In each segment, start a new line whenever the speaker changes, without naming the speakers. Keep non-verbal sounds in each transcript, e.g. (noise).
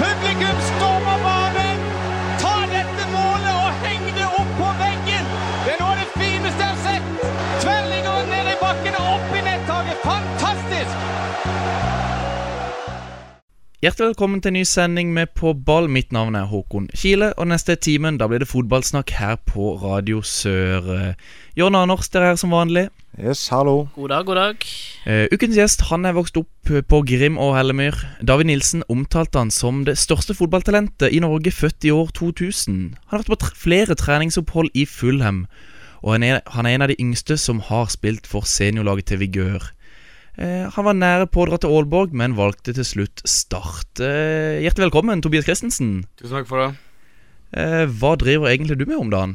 Publikum stormer banen! Ta dette målet og heng det opp på veggen! Det er noe av det fineste jeg har sett! Tverrliggeren ned i bakken og opp i nettaket! Fantastisk!
Hjertelig velkommen til en ny sending med På ball. Mitt navn er Håkon Kile, og neste timen da blir det fotballsnakk her på Radio Sør. Eh, Jørn Anders, dere er her som vanlig.
Yes, hallo.
God dag, god dag.
Eh, ukens gjest han er vokst opp eh, på Grim og Hellemyr. David Nilsen omtalte han som det største fotballtalentet i Norge født i år 2000. Han har vært på tre- flere treningsopphold i Fulham, og han er, han er en av de yngste som har spilt for seniorlaget til Vigør. Eh, han var nære på å dra til Aalborg, men valgte til slutt Start. Eh, hjertelig velkommen, Tobias Christensen.
Tusen takk for det.
Eh, hva driver egentlig du med om dagen?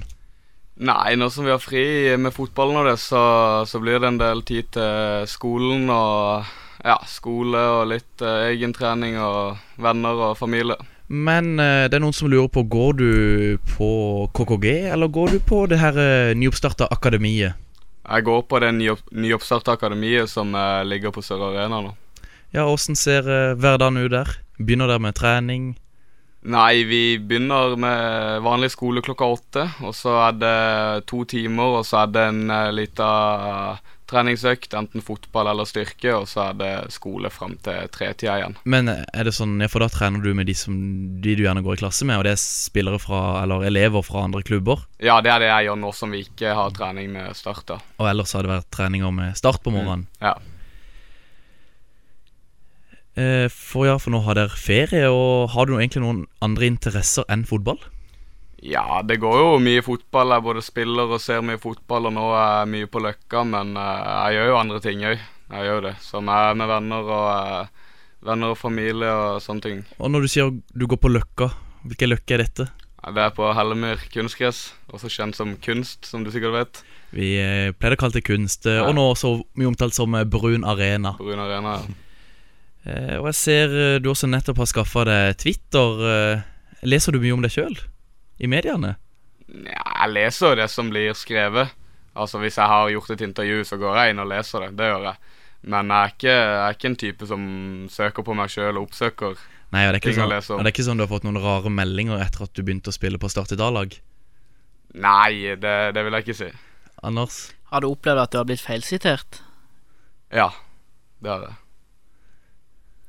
Nei, nå som vi har fri med fotballen og det, så, så blir det en del tid til skolen og ja, skole og litt eh, egen trening og venner og familie.
Men eh, det er noen som lurer på, går du på KKG, eller går du på det her eh, nyoppstarta akademiet?
Jeg går på det nyopp, nyoppstarta akademiet som eh, ligger på Sør Arena nå.
Ja, åssen ser eh, hverdagen ut der? Begynner dere med trening?
Nei, vi begynner med vanlig skole klokka åtte, og så er det to timer, og så er det en eh, lita eh, treningsøkt, enten fotball eller styrke, og så er det skole fram til tretida igjen.
Men eh, er det sånn, ja, for da trener du med de, som, de du gjerne går i klasse med, og det er spillere fra, eller elever fra andre klubber?
Ja, det er det jeg gjør nå som vi ikke har trening med Start. da.
Og ellers har det vært treninger med start på morgenen?
Mm. Ja.
Eh, For ja, for nå har dere ferie, og har du nå egentlig noen andre interesser enn fotball?
ja, det går jo mye fotball. Jeg både spiller og ser mye fotball, og nå er jeg mye på Løkka, men eh, jeg gjør jo andre ting òg. Jeg gjør jo det. Som jeg er med venner og eh, venner og familie og sånne ting.
Og når du sier du går på Løkka, hvilken løkke er dette?
Ja, Det er på Hellemyr kunstgress, også kjent som kunst, som du sikkert vet.
Vi eh, pleide å kalle det kunst, eh, og
Ja.
nå også mye omtalt som eh, Brun Arena.
På Rune Arena. ja.
Eh, Og jeg ser eh, du også nettopp har skaffa deg Twitter. eh, Leser du mye om deg sjøl i mediene?
Nja, jeg leser jo det som blir skrevet. Altså, Hvis jeg har gjort et intervju, så går jeg inn og leser det. Det gjør jeg. Men jeg er ikke, jeg er ikke en type som søker på meg sjøl og oppsøker.
Nei, og det er ikke
Ting å
sånn,
lese om.
og det er ikke sånn du har fått noen rare meldinger etter at du begynte å spille på Start i dag-lag?
Nei, det, det vil jeg ikke si.
Anders?
Har du opplevd at du har blitt feilsitert?
Ja, det er det.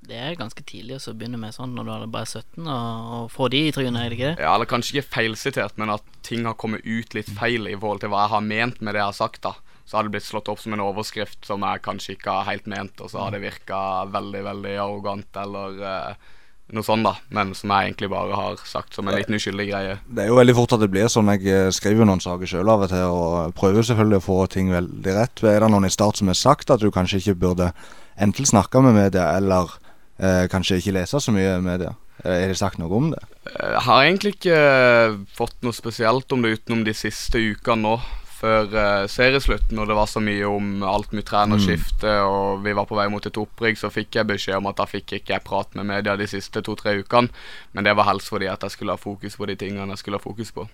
Det er ganske tidlig å så begynne med sånn når du er bare 17, og, og få de i trynet, er det ikke det?
Ja, Eller kanskje ikke feilsitert, men at ting har kommet ut litt feil i forhold til hva jeg har ment med det jeg har sagt. da. Så har det blitt slått opp som en overskrift som jeg kanskje ikke har helt ment, og så har det virka veldig, veldig arrogant eller eh, noe sånt, da. Men som jeg egentlig bare har sagt som en liten uskyldig greie.
Det er jo veldig fort at det blir sånn. Jeg eh, skriver jo noen saker sjøl av og til, og prøver selvfølgelig å få ting veldig rett. Er det noen i start som har sagt at du kanskje ikke burde enten snakke med media, eller eh, kanskje ikke lese så mye media? Eh, Er det sagt noe om det?
Jeg har egentlig ikke eh, fått noe spesielt om det utenom de siste ukene nå. Før eh, serieslutten, når det var så mye om alt med trenerskifte og vi var på vei mot et opprykk, så fikk jeg beskjed om at da fikk ikke jeg prat med media de siste to-tre ukene. Men det var helst fordi at jeg skulle ha fokus på de tingene jeg skulle ha fokus på.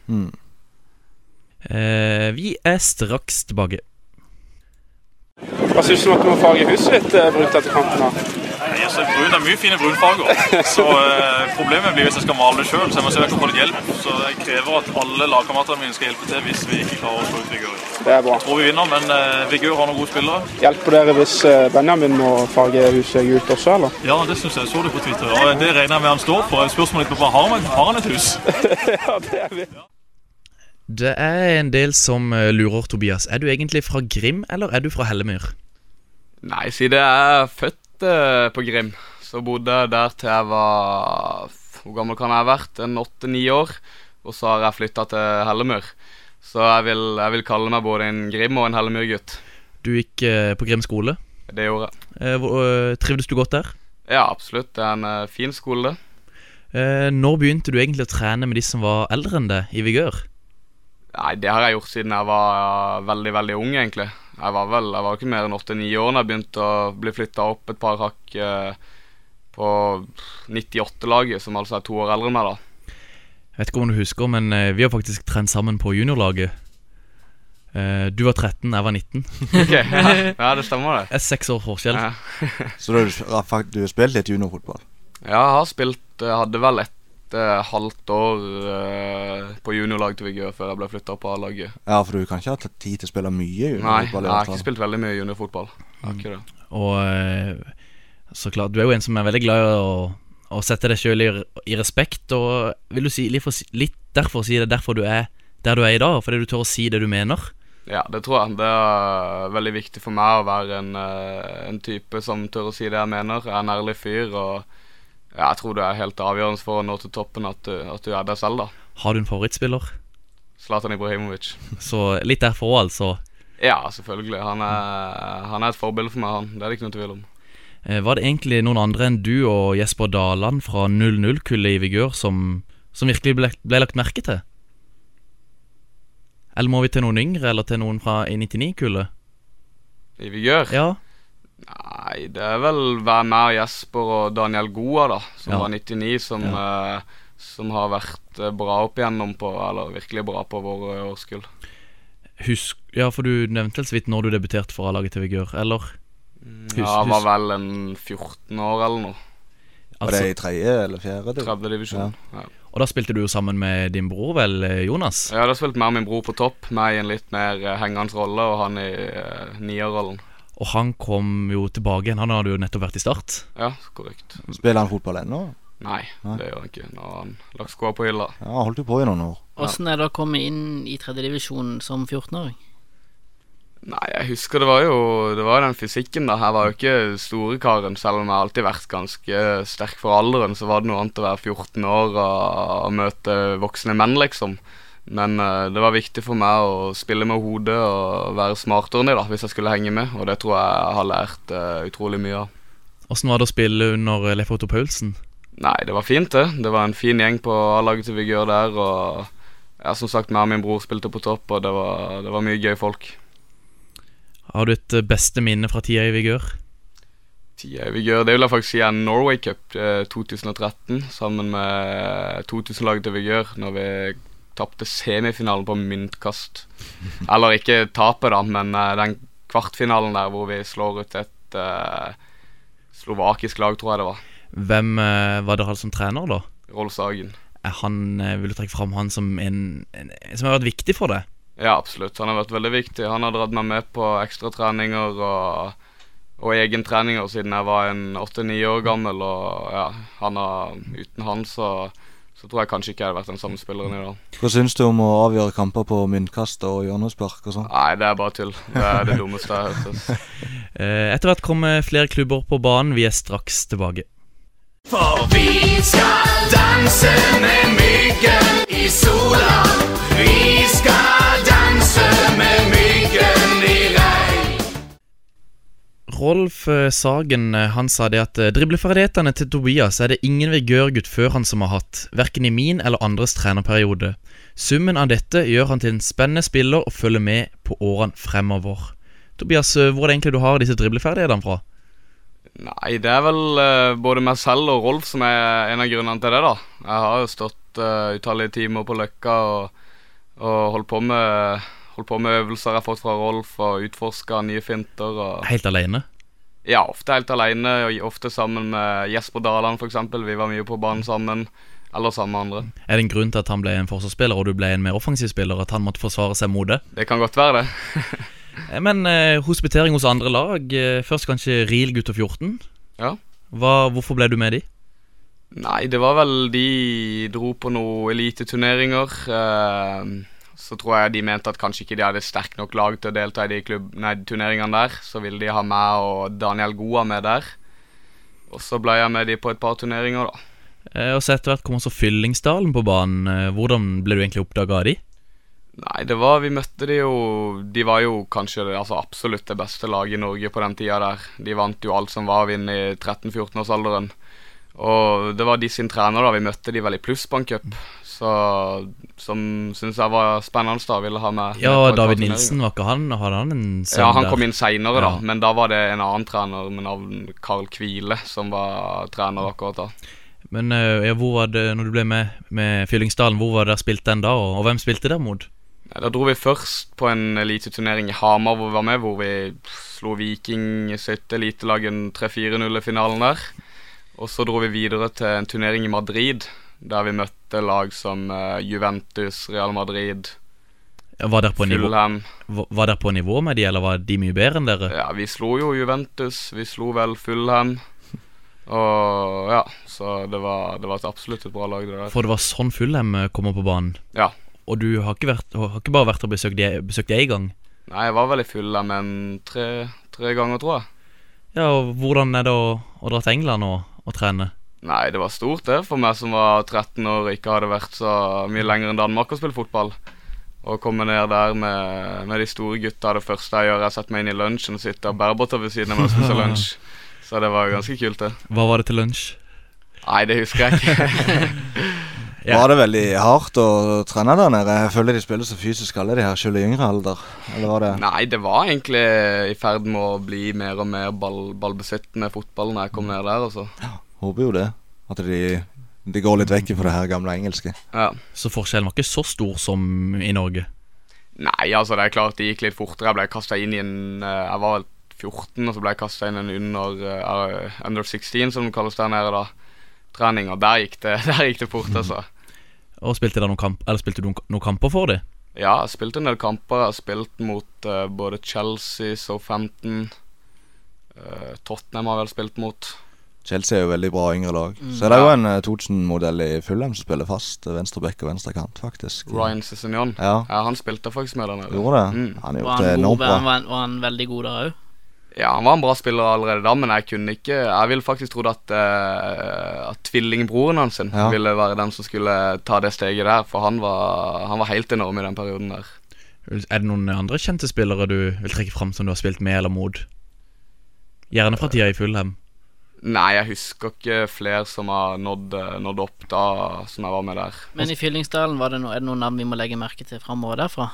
Eh, vi er straks tilbake.
Hva syns du om at du må farge huset ditt eh, brunt etter kanten? da?
Ja, så brun det er mye fine brunfarger. Så eh, problemet blir hvis jeg skal male det sjøl, så jeg må søke på litt hjelp. Så jeg krever at alle lagkameratene mine skal hjelpe til hvis vi ikke klarer å slå ut Vigør. Jeg
Det er bra.
tror vi vinner, men eh, Vigør har noen gode spillere.
Hjelper dere hvis eh, Benjamin må farge huset gult også, eller?
Ja, det syns jeg. Så du på Twitter. Og det regner jeg med han står på. Spørsmålet mitt er bare har han, har han et hus?
Ja, det er vi.
Det er en del som eh, lurer, Tobias. Er du egentlig fra Grim, eller er du fra Hellemyr?
Nei, siden jeg er født eh, på Grim, så bodde jeg der til jeg var Hvor gammel kan jeg ha vært? En åtte-ni år. Og så har jeg flytta til Hellemyr. Så jeg vil, jeg vil kalle meg både en Grim og en Hellemyr-gutt.
Du gikk eh, på Grim skole.
Det gjorde jeg.
Eh, hvor- eh, Trivdes du godt der?
Ja, absolutt. Det er en eh, fin skole, det.
Eh, Når begynte du egentlig å trene med de som var eldre enn deg, i vigør?
Nei, det har jeg gjort siden jeg var eh, veldig, veldig ung, egentlig. Jeg var vel jeg var ikke mer enn åtte-ni år da jeg begynte å bli flytta opp et par hakk eh, på 98-laget, som altså er to år eldre enn meg, da.
Jeg vet ikke om du husker, men eh, vi har faktisk trent sammen på juniorlaget. Eh, Du var 13, jeg var 19.
Ok, (laughs) ja, ja, det stemmer det.
Det er seks år forskjell.
Ja.
Så du, har fakt- du har spilt litt juniorfotball?
Ja, jeg har spilt eh, Hadde vel et eh, halvt år eh, på juniorlag til Vigør før jeg ble flytta på A-laget.
Ja, for du kan ikke ha tatt tid til å spille mye
Nei, jeg
juniorfotball? i
har
hvert fall.
ikke spilt veldig mye juniorfotball. Jeg har ikke det.
Og eh, så klart, du er jo en som er veldig glad i å, å sette deg sjøl i, i respekt, og vil du si litt, for, litt derfor si det derfor du er der du er i dag, fordi du tør å si det du mener?
Ja, det tror jeg. Det er veldig viktig for meg å være en, eh, en type som tør å si det jeg mener. Jeg er en ærlig fyr, og ja, jeg tror det er helt avgjørende for å nå til toppen at du, at du er deg selv, da.
Har du en favorittspiller?
Zlatan Ibrahimovic.
Så litt derfor òg, altså.
Ja, selvfølgelig. Han er, han er et forbilde for meg, han. Det er det ikke noe tvil om.
Eh, Var det egentlig noen andre enn du og Jesper Daland fra 00-kullet i Vigør som, som virkelig ble, ble lagt merke til? Eller må vi til noen yngre, eller til noen fra 99-kullet?
I Vigør?
Ja.
Nei, det er vel være med Jesper og Daniel Goa, da, som
Ja.
var 99, som, eh, som har vært eh, bra opp igjennom på Eller virkelig bra på eh, våre årskull.
Husk, ja, for du nevnte vel så vidt når du debuterte for A-laget til Vigør, eller? Hus-
Mm, Ja, jeg var
hus-
vel en 14 år eller noe.
Var
Altså,
det i tredje eller fjerde? div-
Tredje divisjon. Ja.
og da spilte du jo sammen med din bror, vel, eh, Jonas?
Jeg hadde spilt mer min bror på topp, meg i en litt mer eh, hengende rolle, og han i eh, nierrollen.
Og han kom jo tilbake igjen, han hadde jo nettopp vært i Start.
Ja, korrekt.
Spiller han fotball ennå?
Nei,
Nei.
det gjør han ikke. Nå har han lagt skoa på hylla.
Ja, holdt jo på i noen år.
Åssen er det å komme inn i tredjedivisjon som 14-åring?
Nei, jeg husker det var jo Det var jo den fysikken, da. Jeg var jo ikke store karen, selv om jeg har alltid vært ganske sterk for alderen. Så var det noe annet å være 14 år og, og møte voksne menn, liksom. Men eh, det var viktig for meg å spille med hodet og være smartere enn de, da, hvis jeg skulle henge med. Og det tror jeg jeg har lært eh, utrolig mye av.
Åssen var det å spille under eh, Leif Otto Paulsen?
Nei, det var fint, det. Det var en fin gjeng på A-laget til Vigør der. Og ja, som sagt, meg og min bror spilte på topp, og det var, det var mye gøy folk.
Har du et eh, beste minne fra tida i Vigør?
Tida vi gjør, det vil jeg faktisk si er Norway Cup eh, 2013 sammen med eh, 2000-laget til Vigør når vi tapte semifinalen på myntkast. Eller ikke tapet, da, men eh, den kvartfinalen der hvor vi slår ut et eh, slovakisk lag, tror jeg det var.
Hvem eh, var det han som trener, da?
Rolf Sagen.
Er han, eh, vil du trekke fram han som en, en Som har vært viktig for deg?
Ja, absolutt. Han har vært veldig viktig. Han har dratt meg med på ekstratreninger og, og egentreninger siden jeg var en åtte-ni år gammel. Og ja, han har, uten han så, så tror jeg kanskje ikke jeg hadde vært den samme spilleren i dag.
Hva syns du om å avgjøre kamper på myntkast og hjørnespark og sånn?
Nei, det er bare tull. Det er det dummeste jeg har hørt. ass.
Eh, etter hvert kommer flere klubber på banen. Vi er straks tilbake.
For vi skal danse med myggen i sola. Vi skal danse med myggen i regn.
Rolf eh, Sagen eh, han sa det at eh, dribleferdighetene til Tobias er det ingen vigørgutt før han som har hatt, verken i min eller andres trenerperiode. Summen av dette gjør han til en spennende spiller og følger med på årene fremover. Tobias, eh, hvor er det egentlig du har disse dribleferdighetene fra?
Nei, det er vel eh, både meg selv og Rolf som er en av grunnene til det, da. Jeg har jo stått eh, utallige timer på Løkka og, og holdt, på med, holdt på med øvelser jeg har fått fra Rolf, og utforska nye finter. og...
Helt aleine?
Ja, ofte helt alene, og ofte sammen med Jesper Daland f.eks. Vi var mye på banen sammen, eller sammen med andre.
Er det en grunn til at han ble en forsvarsspiller og du ble en mer offensiv spiller? At han måtte forsvare seg mot det?
Det kan godt være, det.
Eh, Men eh, hospitering hos andre lag, eh, først kanskje Riel gutter 14.
Ja.
Hva, hvorfor ble du med de?
Nei, det var vel de dro på noen eliteturneringer. eh, Så tror jeg de mente at kanskje ikke de hadde sterkt nok lag til å delta i de klubb, nei, turneringene der. Så ville de ha meg og Daniel Goa med der. Og så ble jeg med de på et par turneringer, da.
Eh, og så etter hvert kom også Fyllingsdalen på banen. Eh, hvordan ble du egentlig oppdaga av de?
Nei, det var Vi møtte de jo De var jo kanskje det, altså absolutt det beste laget i Norge på den tida der. De vant jo alt som var å vinne i 13-14-årsalderen. Og det var de sin trener, da. Vi møtte de vel i Plussbank Cup. Så Som syns jeg var spennende, da. Ville ha med med på
Ja,
et par
David
turneringer.
Nilsen, var ikke han? Hadde han en sønn
Ja, han kom
der?
inn seinere, da.
Ja.
Men da var det en annen trener med navn Carl Kvile som var trener akkurat da.
Men eh, ja, hvor var det, når du ble med med Fyllingsdalen, hvor var det dere spilte den da? Og, og hvem spilte dere mot?
Nei, Da dro vi først på en eliteturnering i Hamar hvor vi var med, hvor vi slo Viking sitt elitelag i en 3-4-0-finalen der. Og så dro vi videre til en turnering i Madrid, der vi møtte lag som eh, Juventus, Real Madrid,
Var dere på, nivå,
Fulham.
var- var dere på nivå med de, eller var de mye bedre enn dere?
Ja, vi slo jo Juventus, vi slo vel Fulham. Og ja, så det var, det var et absolutt et bra lag, det der.
For det var sånn Fulham eh, kommer på banen.
Ja.
Og du har ikke, vært, har ikke bare vært og besøkt de, besøkt de en gang?
Nei, jeg var vel i Fulham en tre, tre ganger, tror jeg.
Ja, og hvordan er det å, å dra til England og, og trene?
Nei, det var stort det for meg som var 13 år og ikke hadde vært så mye lenger enn Danmark og spille fotball. Å komme ned der med, med de store gutta det første jeg gjør, er å sette meg inn i lunsjen og sitte og bærebåter ved siden av meg og spise lunsj. Så det var ganske kult, det.
Hva var det til lunsj?
Nei, det husker jeg ikke. (laughs)
Ja.
Var det veldig hardt å trene der nede? Jeg føler de spiller så fysisk alle de her, selv i yngre alder. Eller var det
Nei, det var egentlig i ferd med å bli mer og mer ball, ballbesittende fotball når jeg kom ned der, altså.
Håper jo det. At de, de går litt vekk fra det her gamle engelske.
Ja.
Så forskjellen var ikke så stor som i Norge.
Nei, altså det er klart det gikk litt fortere. Jeg ble kasta inn i en eh, Jeg var vel 14, og så ble jeg kasta inn i en under, eh, eh, under 16, som det kalles der nede, da. Trening, og der gikk det, (laughs) der gikk det fort, altså.
Og spilte, dere noen kamp, eller spilte du noen kamper for dem?
Ja, jeg spilte en del kamper. Jeg har spilt mot eh, både Chelsea, Southampton eh, Tottenham har jeg vel spilt mot.
Chelsea er jo veldig bra yngre lag. Så er det jo en eh, 2000-modell i Fulham som spiller fast eh, venstre back og venstre kant, faktisk.
Ryan Cézignon.
Ja,
Ja, han spilte faktisk med der nede.
gjorde det.
Mm.
Han har
Var
gjort det
han, god,
enormt
var, han,
bra.
var, han, var han veldig god da òg?
Ja, han var en bra spiller allerede da, men jeg kunne ikke Jeg ville faktisk trodd at, eh, at tvillingbroren hans sin
Ja.
ville være den som skulle ta det steget der, for han var, han var helt enorm i den perioden der.
Er det noen andre kjente spillere du vil trekke fram som du har spilt med eller mot? Gjerne fra tida i Fulham.
Nei, jeg husker ikke flere som har nådd, eh, nådd opp da, som jeg var med der.
Altså-
Men i Fyllingsdalen, var det noe, er det noen navn vi må legge merke til framover derfra?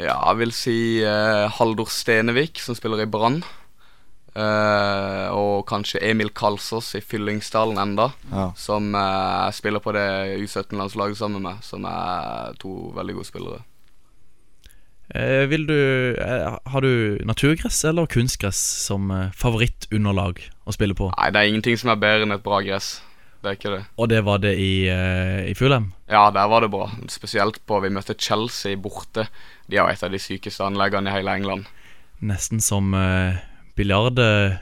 Ja, jeg vil si eh, Haldor Stenevik, som spiller i Brann. Eh, og kanskje Emil Kalsås i Fyllingsdalen enda,
Ja.
som eh, jeg spiller på det U17-landslaget sammen med, som er to veldig gode spillere.
Eh, vil du eh, Har du naturgress eller kunstgress som eh, favorittunderlag å spille på?
Nei, det er ingenting som er bedre enn et bra gress. Det er ikke det.
Og det var det i, eh, i Fulham?
Ja, der var det bra. Spesielt på Vi møtte Chelsea borte. De har et av de sykeste anleggene i hele England.
Nesten som eh, biljard eh,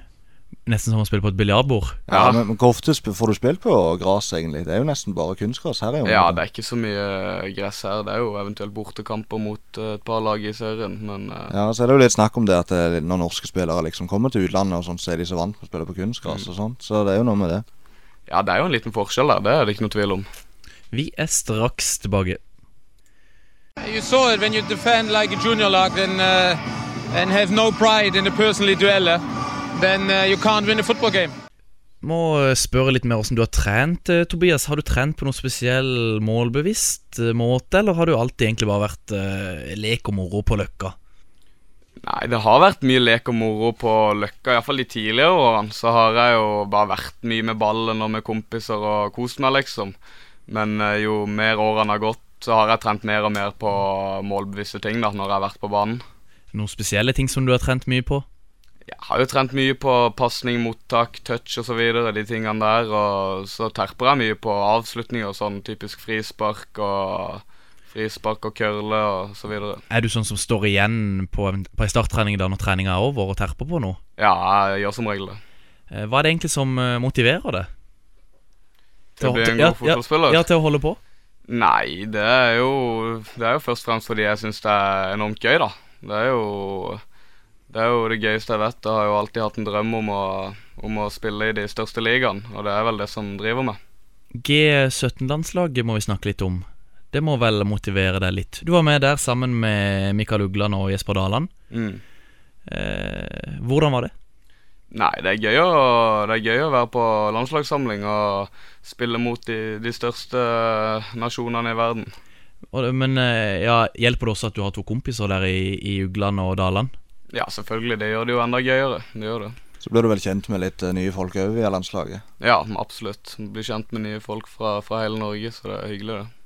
Nesten som å spille på et biljardbord.
Ja,
Ja.
men, men Hvor ofte sp- får du spilt på gras, egentlig? Det er jo nesten bare kunstgras her i området.
Ja, det er ikke så mye gress her. Det er jo eventuelt bortekamper mot eh, et par lag i serien, men eh,
Ja, så er det jo litt snakk om det at eh, når norske spillere liksom kommer til utlandet, og sånt, så er de så vant med å spille på kunstgras og sånt. Så det er jo noe med det.
ja, det er jo en liten forskjell der. Det er det ikke noe tvil om.
Vi er straks tilbake.
You saw it when you defend like a junior lag and uh, and have no pride in the personally dueller, then uh, you can't win a football game.
Må eh, spørre litt mer hvordan du har trent, eh, Tobias. Har du trent på noen spesiell målbevisst eh, måte, eller har du alltid egentlig bare vært eh, lek og moro på løkka?
Nei, det har vært mye lek og moro på Løkka. Iallfall de tidligere årene så har jeg jo bare vært mye med ballen og med kompiser og kost meg, liksom. Men eh, jo mer årene har gått, så har jeg trent mer og mer på målbevisste ting da, når jeg har vært på banen.
Noen spesielle ting som du har trent mye på?
Jeg har jo trent mye på pasning, mottak, touch osv., de tingene der. Og så terper jeg mye på avslutninger, sånn typisk frispark og frispark og curle og så videre.
Er du sånn som står igjen på, en- på en starttrening da når treninga er over, og terper på noe?
Ja, jeg gjør som regel det.
Eh, Hva er det egentlig som eh, motiverer deg?
Til å bli en
ja,
god fotballspiller.
Ja, ja, til å holde på?
Nei, det er jo Det er jo først og fremst fordi jeg syns det er enormt gøy, da. Det er jo det er jo det gøyeste jeg vet. Jeg har jo alltid hatt en drøm om å, om å spille i de største ligaene, og det er vel det som driver meg.
G17-landslaget må vi snakke litt om. Det må vel motivere deg litt. Du var med der sammen med Mikael Ugland og Jesper Daland. Eh, hvordan var det?
Nei, det er, gøy å, det er gøy å være på landslagssamling og spille mot de, de største nasjonene i verden.
Og, det- men eh, ja, hjelper det også at du har to kompiser der i, i Ugland og Daland?
Ja, selvfølgelig. Det gjør det jo enda gøyere. Det gjør det.
Så blir du vel kjent med litt eh, nye folk òg via landslaget.
Ja, absolutt. Bli kjent med nye folk fra, fra hele Norge, så det er hyggelig, det.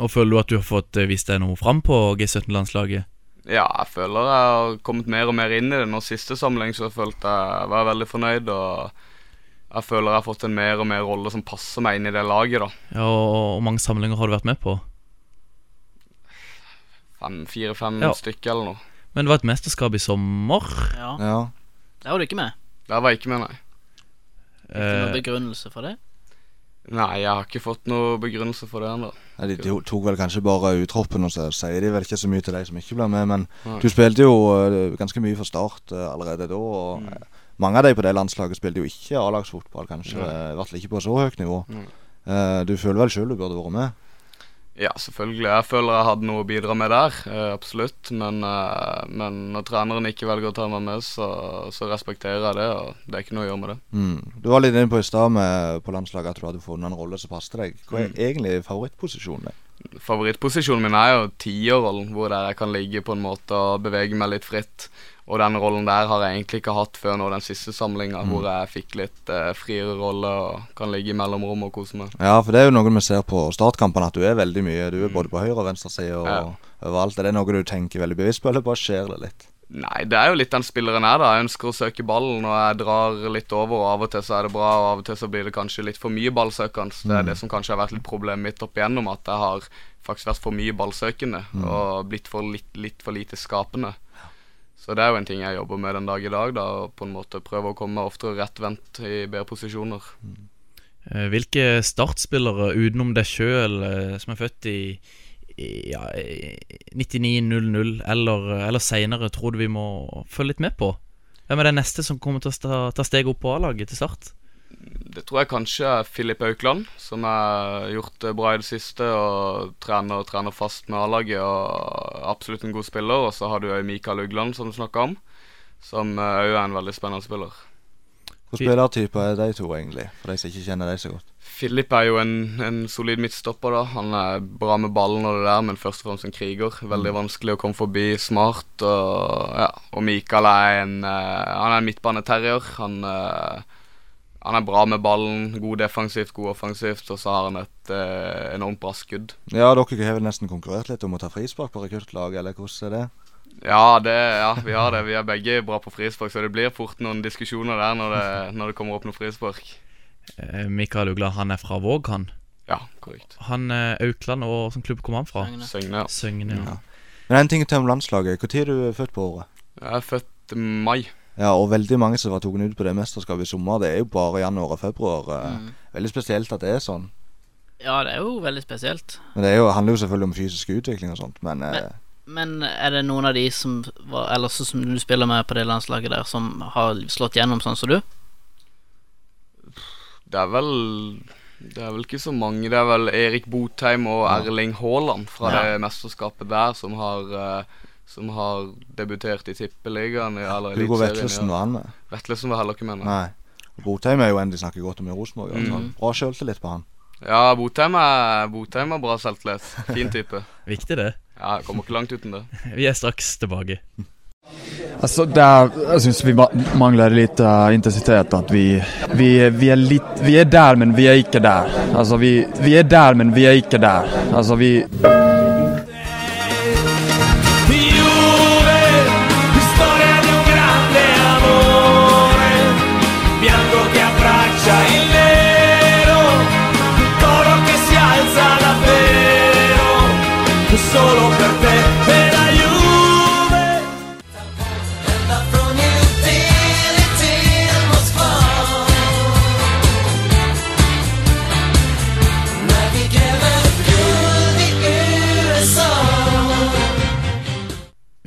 Og føler du at du har fått eh, vist deg noe fram på G17-landslaget?
Ja, jeg føler jeg har kommet mer og mer inn i det. Nå siste samling så følte jeg var jeg veldig fornøyd, og jeg føler jeg har fått en mer og mer rolle som passer meg inn i det laget, da.
Ja, og, og mange samlinger har du vært med på?
Fem, Fire-fem
Ja.
stykker eller noe.
Men det var et mesterskap i sommer.
Ja,
Ja.
Der var du ikke med.
Der var jeg ikke med, nei.
Ikke noen
Eh,
begrunnelse for det.
Nei, jeg har ikke fått noe begrunnelse for det ennå.
Nei, de to- tok vel kanskje bare uttroppen, og så sier de vel ikke så mye til de som ikke ble med. Men
Nei.
du spilte jo eh, ganske mye for Start eh, allerede da. og
Mm.
eh, Mange av de på det landslaget spilte jo ikke A-lagsfotball, kanskje. eh, I hvert fall ikke på så høyt nivå.
Nei.
Eh, Du føler vel sjøl du burde vært med?
Ja, selvfølgelig. Jeg føler jeg hadde noe å bidra med der, eh, absolutt. Men, eh, men når treneren ikke velger å ta meg med, så, så respekterer jeg det, og det er ikke noe å gjøre med det.
Mm. Du var litt inne på i stad med- på landslaget at du hadde funnet en rolle som passet deg. Hva er
Mm.
egentlig favorittposisjonen din?
Favorittposisjonen min er jo tierrollen, hvor der jeg kan ligge på en måte og bevege meg litt fritt. Og den rollen der har jeg egentlig ikke hatt før nå den siste samlinga, hvor jeg fikk litt eh, friere rolle og kan ligge i mellomrommet og kose meg.
Ja, for det er jo noe vi ser på startkampene, at du er veldig mye. Du er både på høyre- og venstresida og
Mm. Ja.
overalt. Er det noe du tenker veldig bevisst på, eller bare skjer det litt?
Nei, det er jo litt den spilleren jeg er, da. Jeg ønsker å søke ballen, og jeg drar litt over, og av og til så er det bra, og av og til så blir det kanskje litt for mye ballsøkende. Det er det som kanskje har vært litt problemet mitt opp igjennom, at jeg har faktisk vært for mye ballsøkende og blitt for litt, litt for lite skapende. Så det er jo en ting jeg jobber med den dag i dag, da, og på en måte prøve å komme oftere rettvendt i bedre posisjoner.
eh, hvilke startspillere utenom deg sjøl eh, som er født i, i ja, i 99-00 eller, eller seinere, tror du vi må følge litt med på? Hvem er den neste som kommer til å sta, ta steget opp på A-laget til start?
Det tror jeg kanskje er Filip Aukland, som har gjort det bra i det siste og trener og trener fast med A-laget. og Absolutt en god spiller. Og så har du òg Mikael Ugland, som du snakka om, som òg er en veldig spennende spiller.
Hvilken spillertype er de to, egentlig? For de som ikke kjenner de så godt.
Filip er jo en, en solid midtstopper. da. Han er bra med ballen og det der, men først og fremst en kriger. Veldig vanskelig å komme forbi, smart. Og, ja. og Mikael er en, eh, han er en midtbaneterrier. Han, eh, han er bra med ballen, god defensivt, god offensivt, og så har han et eh, enormt bra skudd.
Ja, dere har vel nesten konkurrert litt om å ta frispark på rekruttlaget, eller hvordan er det?
Ja, det, ja, vi har det. Vi er begge bra på frispark, så det blir fort noen diskusjoner der når det, når det kommer opp noen frispark.
Eh, Mikael Ugla, han er fra Våg, han.
Ja, korrekt.
Han eh, Aukland, og hvilken klubb kom han fra?
Søgne.
Søgne, ja.
Søgne. Ja.
Men en ting til om landslaget. Når er du født på året?
Jeg er født mai.
Ja, og veldig mange som var tatt ut på det mesterskapet i sommer, det er jo bare januar og februar. eh,
Mm.
Veldig spesielt at det er sånn.
Ja, det er jo veldig spesielt.
Men Det er jo, handler jo selvfølgelig om fysisk utvikling og sånt, men, eh,
Men er det noen av de som var, eller så- som du spiller med på det landslaget der, som har slått gjennom sånn som du?
Det er vel Det er vel ikke så mange. Det er vel Erik Botheim og Erling Haaland fra det mesterskapet der som har eh, Som har debutert i Tippeligaen i- eller
Hugo
Eliteserien,
Vetlesen
ja.
var han eh. med.
Vetlesen var heller ikke med, nei.
Nei. Botheim er jo en de snakker godt om i Rosenborg. i hvert
Mm.
fall. Bra sjøltillit på han.
Ja, Botheim er, Botheim er bra selvtillit. Fin type.
Viktig, det.
Ja, jeg kommer ikke langt uten det.
Vi er straks tilbake.
Altså, det er, jeg syns vi ma- mangler litt eh, intensitet. At vi, vi, vi er litt Vi er der, men vi er ikke der. Altså, vi, vi er der, men vi er ikke der. Altså, vi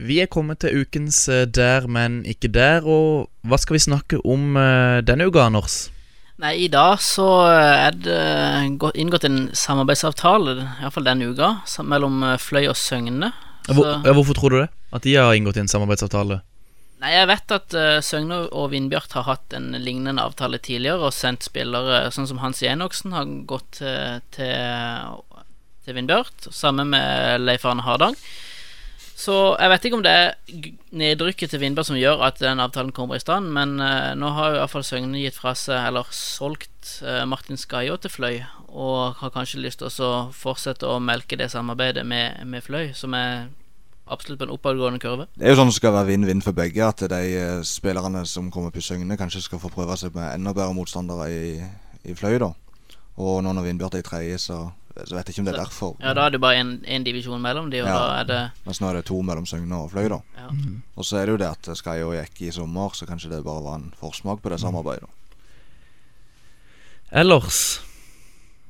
Vi er kommet til ukens eh, Der, men ikke der. Og hva skal vi snakke om eh, denne uka, Anders?
Nei, i dag så er det eh, gå- inngått en samarbeidsavtale, iallfall denne uka, sam- mellom eh, Fløy og Søgne.
Hvor,
Så-
ja, hvorfor tror du det? At de har inngått en samarbeidsavtale?
Nei, jeg vet at eh, Søgne og Vindbjart har hatt en lignende avtale tidligere og sendt spillere, sånn som Hans Enoksen har gått til, til, til Vindbjart, sammen med Leif Arne Hardang. Så jeg vet ikke om det er g- nedrykket til Vindberg som gjør at den avtalen kommer i stand, men eh, nå har jo iallfall Søgne gitt fra seg, eller solgt, eh, Martin Skaiå til Fløy, og har kanskje lyst til å så fortsette å melke det samarbeidet med, med Fløy, som er absolutt på en oppadgående kurve.
Det er jo sånn det skal være vinn-vinn for begge, at de eh, spillerne som kommer på Søgne, kanskje skal få prøve seg med enda bedre motstandere i, i Fløy, da. Og nå når Vindbjart er i tredje, så, så vet jeg ikke om det er derfor.
Ja, da er det bare én divisjon mellom de, og
Ja.
da er det
Mens nå er det to mellom Søgne og Fløy, da.
Ja.
Og så er det jo det at Skaio gikk i sommer, så kanskje det bare var en forsmak på det samarbeidet. da.
Ellers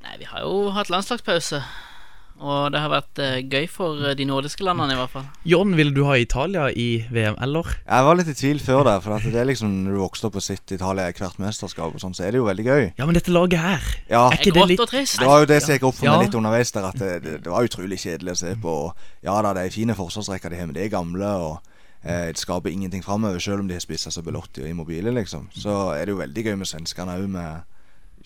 Nei, vi har jo hatt landslagspause. Og det har vært eh, gøy for eh, de nordiske landene, i hvert fall.
John, ville du ha Italia i VM, eller?
Jeg var litt i tvil før der, for at det er liksom når du vokste opp og sitter i Italia i hvert mesterskap, og sånn, så er det jo veldig gøy.
Ja, men dette laget her
Ja,
Er ikke
Det er
det
grått
litt
og trist.
Det var jo det som gikk opp for
Ja.
meg litt underveis der, at det, det, det var utrolig kjedelig å se på. Og ja da, de er fine forsvarsrekker de har, men de er gamle, og eh, det skaper ingenting framover, selv om de har spissa seg Belotti og Immobile, liksom. Så er det jo veldig gøy med svenskene òg, med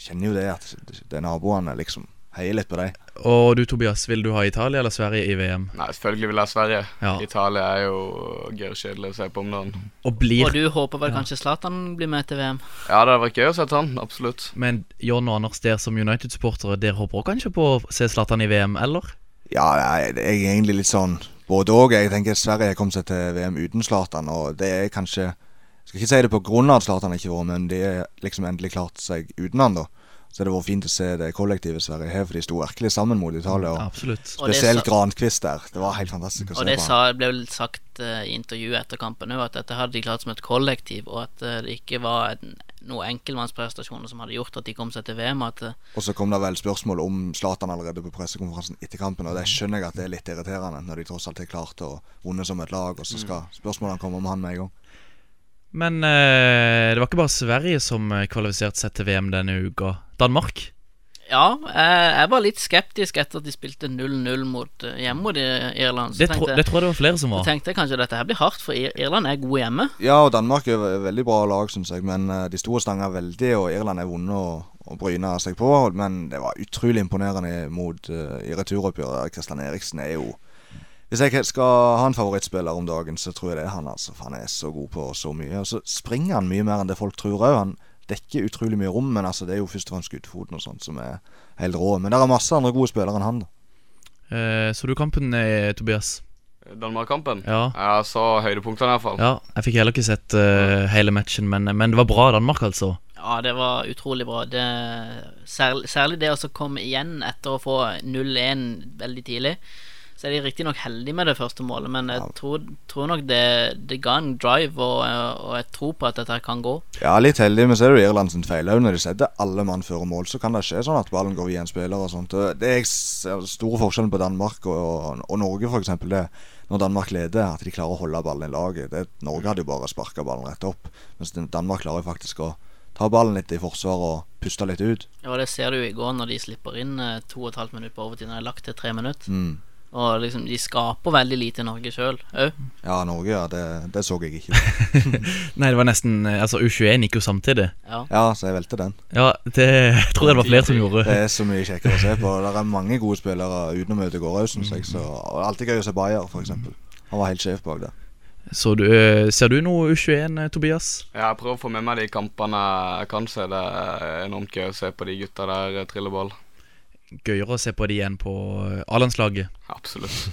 Kjenner jo det at det er naboene, liksom. Heier litt på dem.
Og du, Tobias, ville du ha Italia eller Sverige i VM?
Nei, selvfølgelig vil jeg ha Sverige.
Ja.
Italia er jo gørrkjedelig å se på om dagen.
Og blir
Og du håper vel kanskje Zlatan blir med til VM?
Ja, det hadde vært gøy å se han, absolutt.
Men John og Anders, dere som United-supportere, dere håper også kanskje på å se Zlatan i VM, eller?
Ja, jeg, jeg er egentlig litt sånn både òg. Jeg tenker Sverige kom seg til VM uten Zlatan, og det er kanskje Jeg skal ikke si det på grunn av at Zlatan ikke har vært med, men de har liksom endelig klart seg uten han, da. Så det har vært fint å se det kollektivet Sverige har, for de sto virkelig sammen mot Italia. Og
Absolutt.
Og det
spesielt
sa-
Grankvist der. Det var helt fantastisk å
Og
se
det
på.
sa, ble vel sagt eh, i intervjuet etter kampen òg, at dette hadde de klart som et kollektiv, og at eh, det ikke var en, noen enkeltmannsprestasjoner som hadde gjort at de kom seg til VM. og At, eh,
Og så kom det vel spørsmål om Zlatan allerede på pressekonferansen etter kampen, og det skjønner jeg at det er litt irriterende, når de tross alt har klart å vunne som et lag, og så skal spørsmålene komme om han med en gang.
Men eh, det var ikke bare Sverige som eh, kvalifiserte seg til VM denne uka. Danmark?
ja, jeg, jeg var litt skeptisk etter at de spilte 0-0 mot, eh, hjemme mot eh, Irland.
Det,
Så
tro,
tenkte,
det
jeg-
tror jeg det var flere som
så
var.
tenkte jeg kanskje dette her blir hardt, for Ir Irland er gode hjemme.
Ja, og Danmark er et veldig bra lag, syns jeg. Men eh, de sto og stanga veldig, og Irland er vonde og, og bryna seg på. Men det var utrolig imponerende mot eh, i returoppgjøret. Kristian Eriksen er jo Hvis jeg skal ha en favorittspiller om dagen, så tror jeg det er han. altså, For han er så god på så mye. Og så springer han mye mer enn det folk tror òg. Han dekker utrolig mye rom, men altså, det er jo først og fremst skuddfoten og sånt som er helt rå. Men det er masse andre gode spillere enn han. da.
Eh, så du kampen, eh, Tobias?
Danmark-kampen?
Ja.
Jeg så høydepunktene, i hvert fall.
Ja, jeg fikk heller ikke sett eh, hele matchen, men, men det var bra Danmark, altså.
Ja, det var utrolig bra. Det, særlig, særlig det å så komme igjen etter å få 0-1 veldig tidlig. Så er de riktignok heldige med det første målet, men jeg tror, tror nok det, det ga en drive, og, og jeg tror på at dette her kan gå.
Ja, litt heldig, men så er det jo Irland sin feil òg. Når de setter alle mann før mål, så kan det skje sånn at ballen går via en spiller og sånt. Og Det er s- store forskjellen på Danmark og, og, og Norge, f.eks. Det når Danmark leder, at de klarer å holde ballen i laget. Det, Norge hadde jo bare sparka ballen rett opp, mens den- Danmark klarer jo faktisk å ta ballen litt i forsvar og puste litt ut.
Og det ser du jo i går når de slipper inn eh, to og et halvt minutt på overtid, når de er lagt til tre minutter.
Mm.
Og liksom, de skaper veldig lite Norge sjøl òg.
Ja, Norge, ja. Det, det så jeg ikke.
Nei, det var nesten eh, Altså, U21 gikk jo samtidig.
Ja.
Ja, så jeg velte den.
Ja, det (laughs) tror jeg det var flere som gjorde.
Det er så mye kjekkere å se på. Det er mange gode spillere utenom Ødegaard òg, syns jeg. Så og alltid gøy å se Bayer, f.eks. Han var helt sjef bak der.
Så du, eh, ser du noe U21, eh, Tobias?
Jeg prøver å få med meg de kampene jeg kan se. Det er enormt gøy å se på de gutta der eh, trille ball.
Gøyere å se på de enn på eh, A-landslaget.
Absolutt.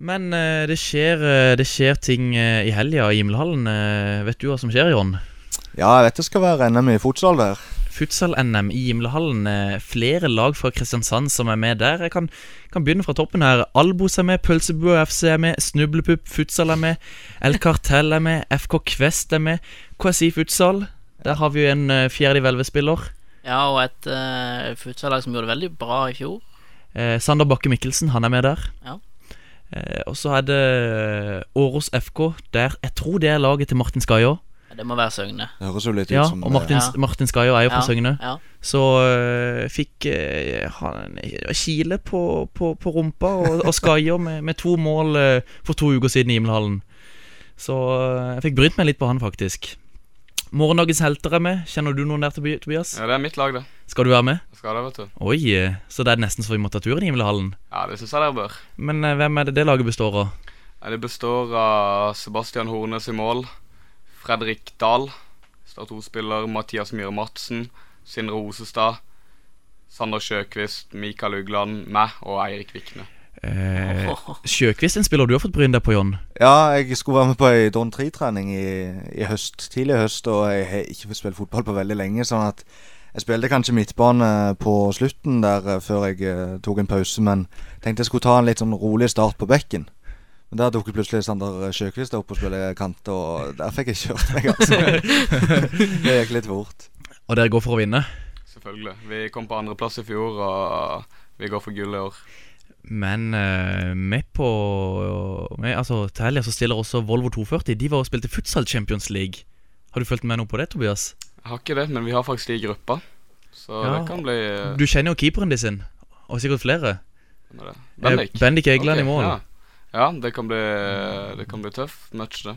Men eh, det, skjer, eh, det skjer ting eh, i helga i Himmelhallen. Eh, vet du hva som skjer, Jon?
Ja, jeg vet det skal være NM i fotsal der.
Futsal-NM i Himmelhallen. eh, flere lag fra Kristiansand som er med der. Jeg kan, kan begynne fra toppen her. Albos er med, Pølsebua FC er med, Snublepupp Futsal er med, El Cartel er med, FK Kvest er med, KSI Futsal. Der har vi jo en eh, fjerde div-11-spiller.
ja, og et uh, futsallag som gjorde det veldig bra i fjor.
Eh, Sander Bakke Mikkelsen, han er med der.
Ja.
Eh, og så er det eh, Åros FK der. Jeg tror det er laget til Martin Skaiå.
Det må være Søgne.
Det høres jo litt
Ja,
ut som eh,
og Martin,
Ja.
Martin Skaiå er jo fra Søgne.
Ja.
Så eh, fikk eh, han kile på, på, på rumpa og, og Skaiå med, med to mål eh, for to uker siden i Himmelhallen. Så eh, jeg fikk brynt meg litt på han, faktisk. Morgendagens helter er med. Kjenner du noen der, Tobi- Tobias?
Ja, det er mitt lag, det.
Skal du være med?
Jeg skal det, vet du.
Oi, eh, så det er nesten så vi må ta turen i Himmelhallen.
Ja, det syns jeg dere bør.
Men eh, hvem er det det laget består av?
Nei, Det består av Sebastian Hornes i mål, Fredrik Dahl, Start 2-spiller Mathias Myhre Madsen, Sindre Osestad, Sander Sjøkvist, Mikael Ugland, meg og Eirik Vikne.
Eh, Sjøkvist, en spiller du har fått bryne deg på, John.
Ja, jeg skulle være med på ei Don 3-trening i, i høst, tidlig i høst, og jeg har ikke fått spille fotball på veldig lenge. sånn at jeg spilte kanskje midtbane på slutten der eh, før jeg eh, tok en pause, men tenkte jeg skulle ta en litt sånn rolig start på bekken. Men der dukket plutselig Sander eh, Sjøkvist opp og spille kant, og der fikk jeg kjørt meg,
(laughs)
altså. det gikk litt fort.
Og dere går for å vinne.
Selvfølgelig. Vi kom på andreplass i fjor, og vi går for gull i år.
Men eh, med på med, Altså, til helga så stiller også Volvo 240. De var og spilte Futsal Champions League. Har du fulgt med noe på det, Tobias?
Jeg har ikke det, men vi har faktisk de i gruppa, så
Ja.
det kan bli eh,
Du kjenner jo keeperen din sin, og sikkert flere.
Hvem er det?
Eh, Bendik Egeland
Ok,
i mål.
Ja, ja det, kan bli, det kan bli tøff match, det.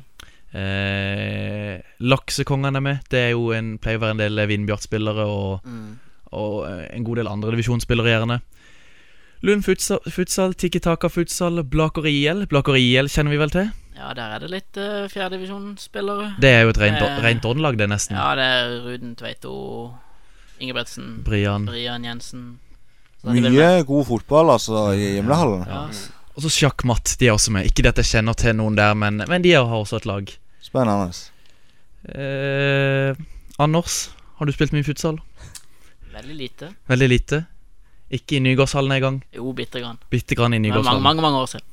Eh, Laksekongene er med. Det er jo en, pleier å være en del Vindbjart-spillere og,
Mm.
og eh, en god del andre divisjonsspillere, gjerne. Lund futsal, futsal Tiki Taka futsal, Blaker IL. Blaker IL kjenner vi vel til?
Ja, der er det litt uh, fjerdedivisjonsspillere.
Det er jo et rent,
Eh,
rent åndelag, det, nesten.
Ja, det er Ruden Tveito, Ingebretsen,
Brian.
Brian Jensen. Så det er vel-
Mye god fotball, altså, i Gimlehallen.
Ja, s-
Og så sjakkmatt, de er også med. Ikke det at jeg kjenner til noen der, men, men de har også et lag.
Spennende.
Eh, Anders, har du spilt mye futsal?
veldig lite.
Veldig lite. Ikke i Nygårdshallen engang.
Jo, bitte grann.
Bitte grann i
Men mange,
Nygårdshallen.
mange, mange år siden.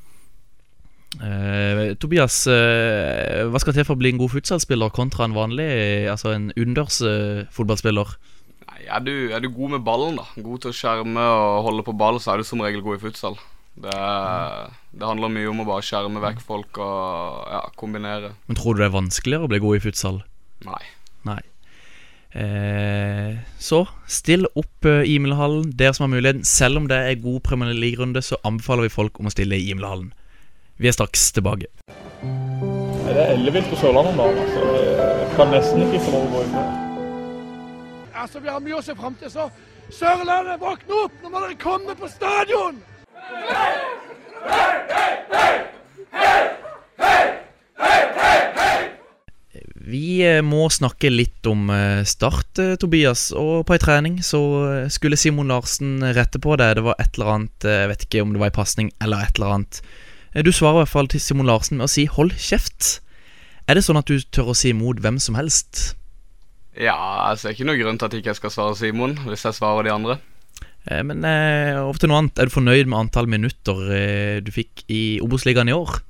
Eh, Tobias, eh, hva skal til for å bli en god futsalspiller kontra en vanlig, eh, altså en unders eh, fotballspiller?
Nei, er du, er du god med ballen, da, god til å skjerme og holde på ball, så er du som regel god i futsal. Det, er- det handler mye om å bare skjerme vekk folk og ja, kombinere.
Men tror du det er vanskeligere å bli god i futsal?
Nei.
Nei. Eh, så still opp eh, i Imlehallen, dere som har muligheten. Selv om det er god Premier League-runde, så anbefaler vi folk om å stille i Imlehallen. Vi er straks tilbake.
Nei, Det er ellevilt på Sørlandet om dagen. altså. Jeg kan nesten ikke få lov å gå ifra.
Altså, vi har mye å se fram til, så Sørlandet, våkne opp! Nå må dere komme på stadion!
Vi eh, må snakke litt om eh, Start, eh, Tobias. Og på ei trening så eh, skulle Simon Larsen rette på deg. Det var et eller annet eh, Jeg vet ikke om det var ei pasning eller et eller annet. Eh, Du svarer i hvert fall til Simon Larsen med å si 'hold kjeft'. Er det sånn at du tør å si imot hvem som helst?
Ja, jeg ser ikke noen grunn til at ikke jeg skal svare Simon, hvis jeg svarer de andre.
Eh, Men eh, over til noe annet. Er du fornøyd med antall minutter eh, du fikk i Obos-ligaen i år?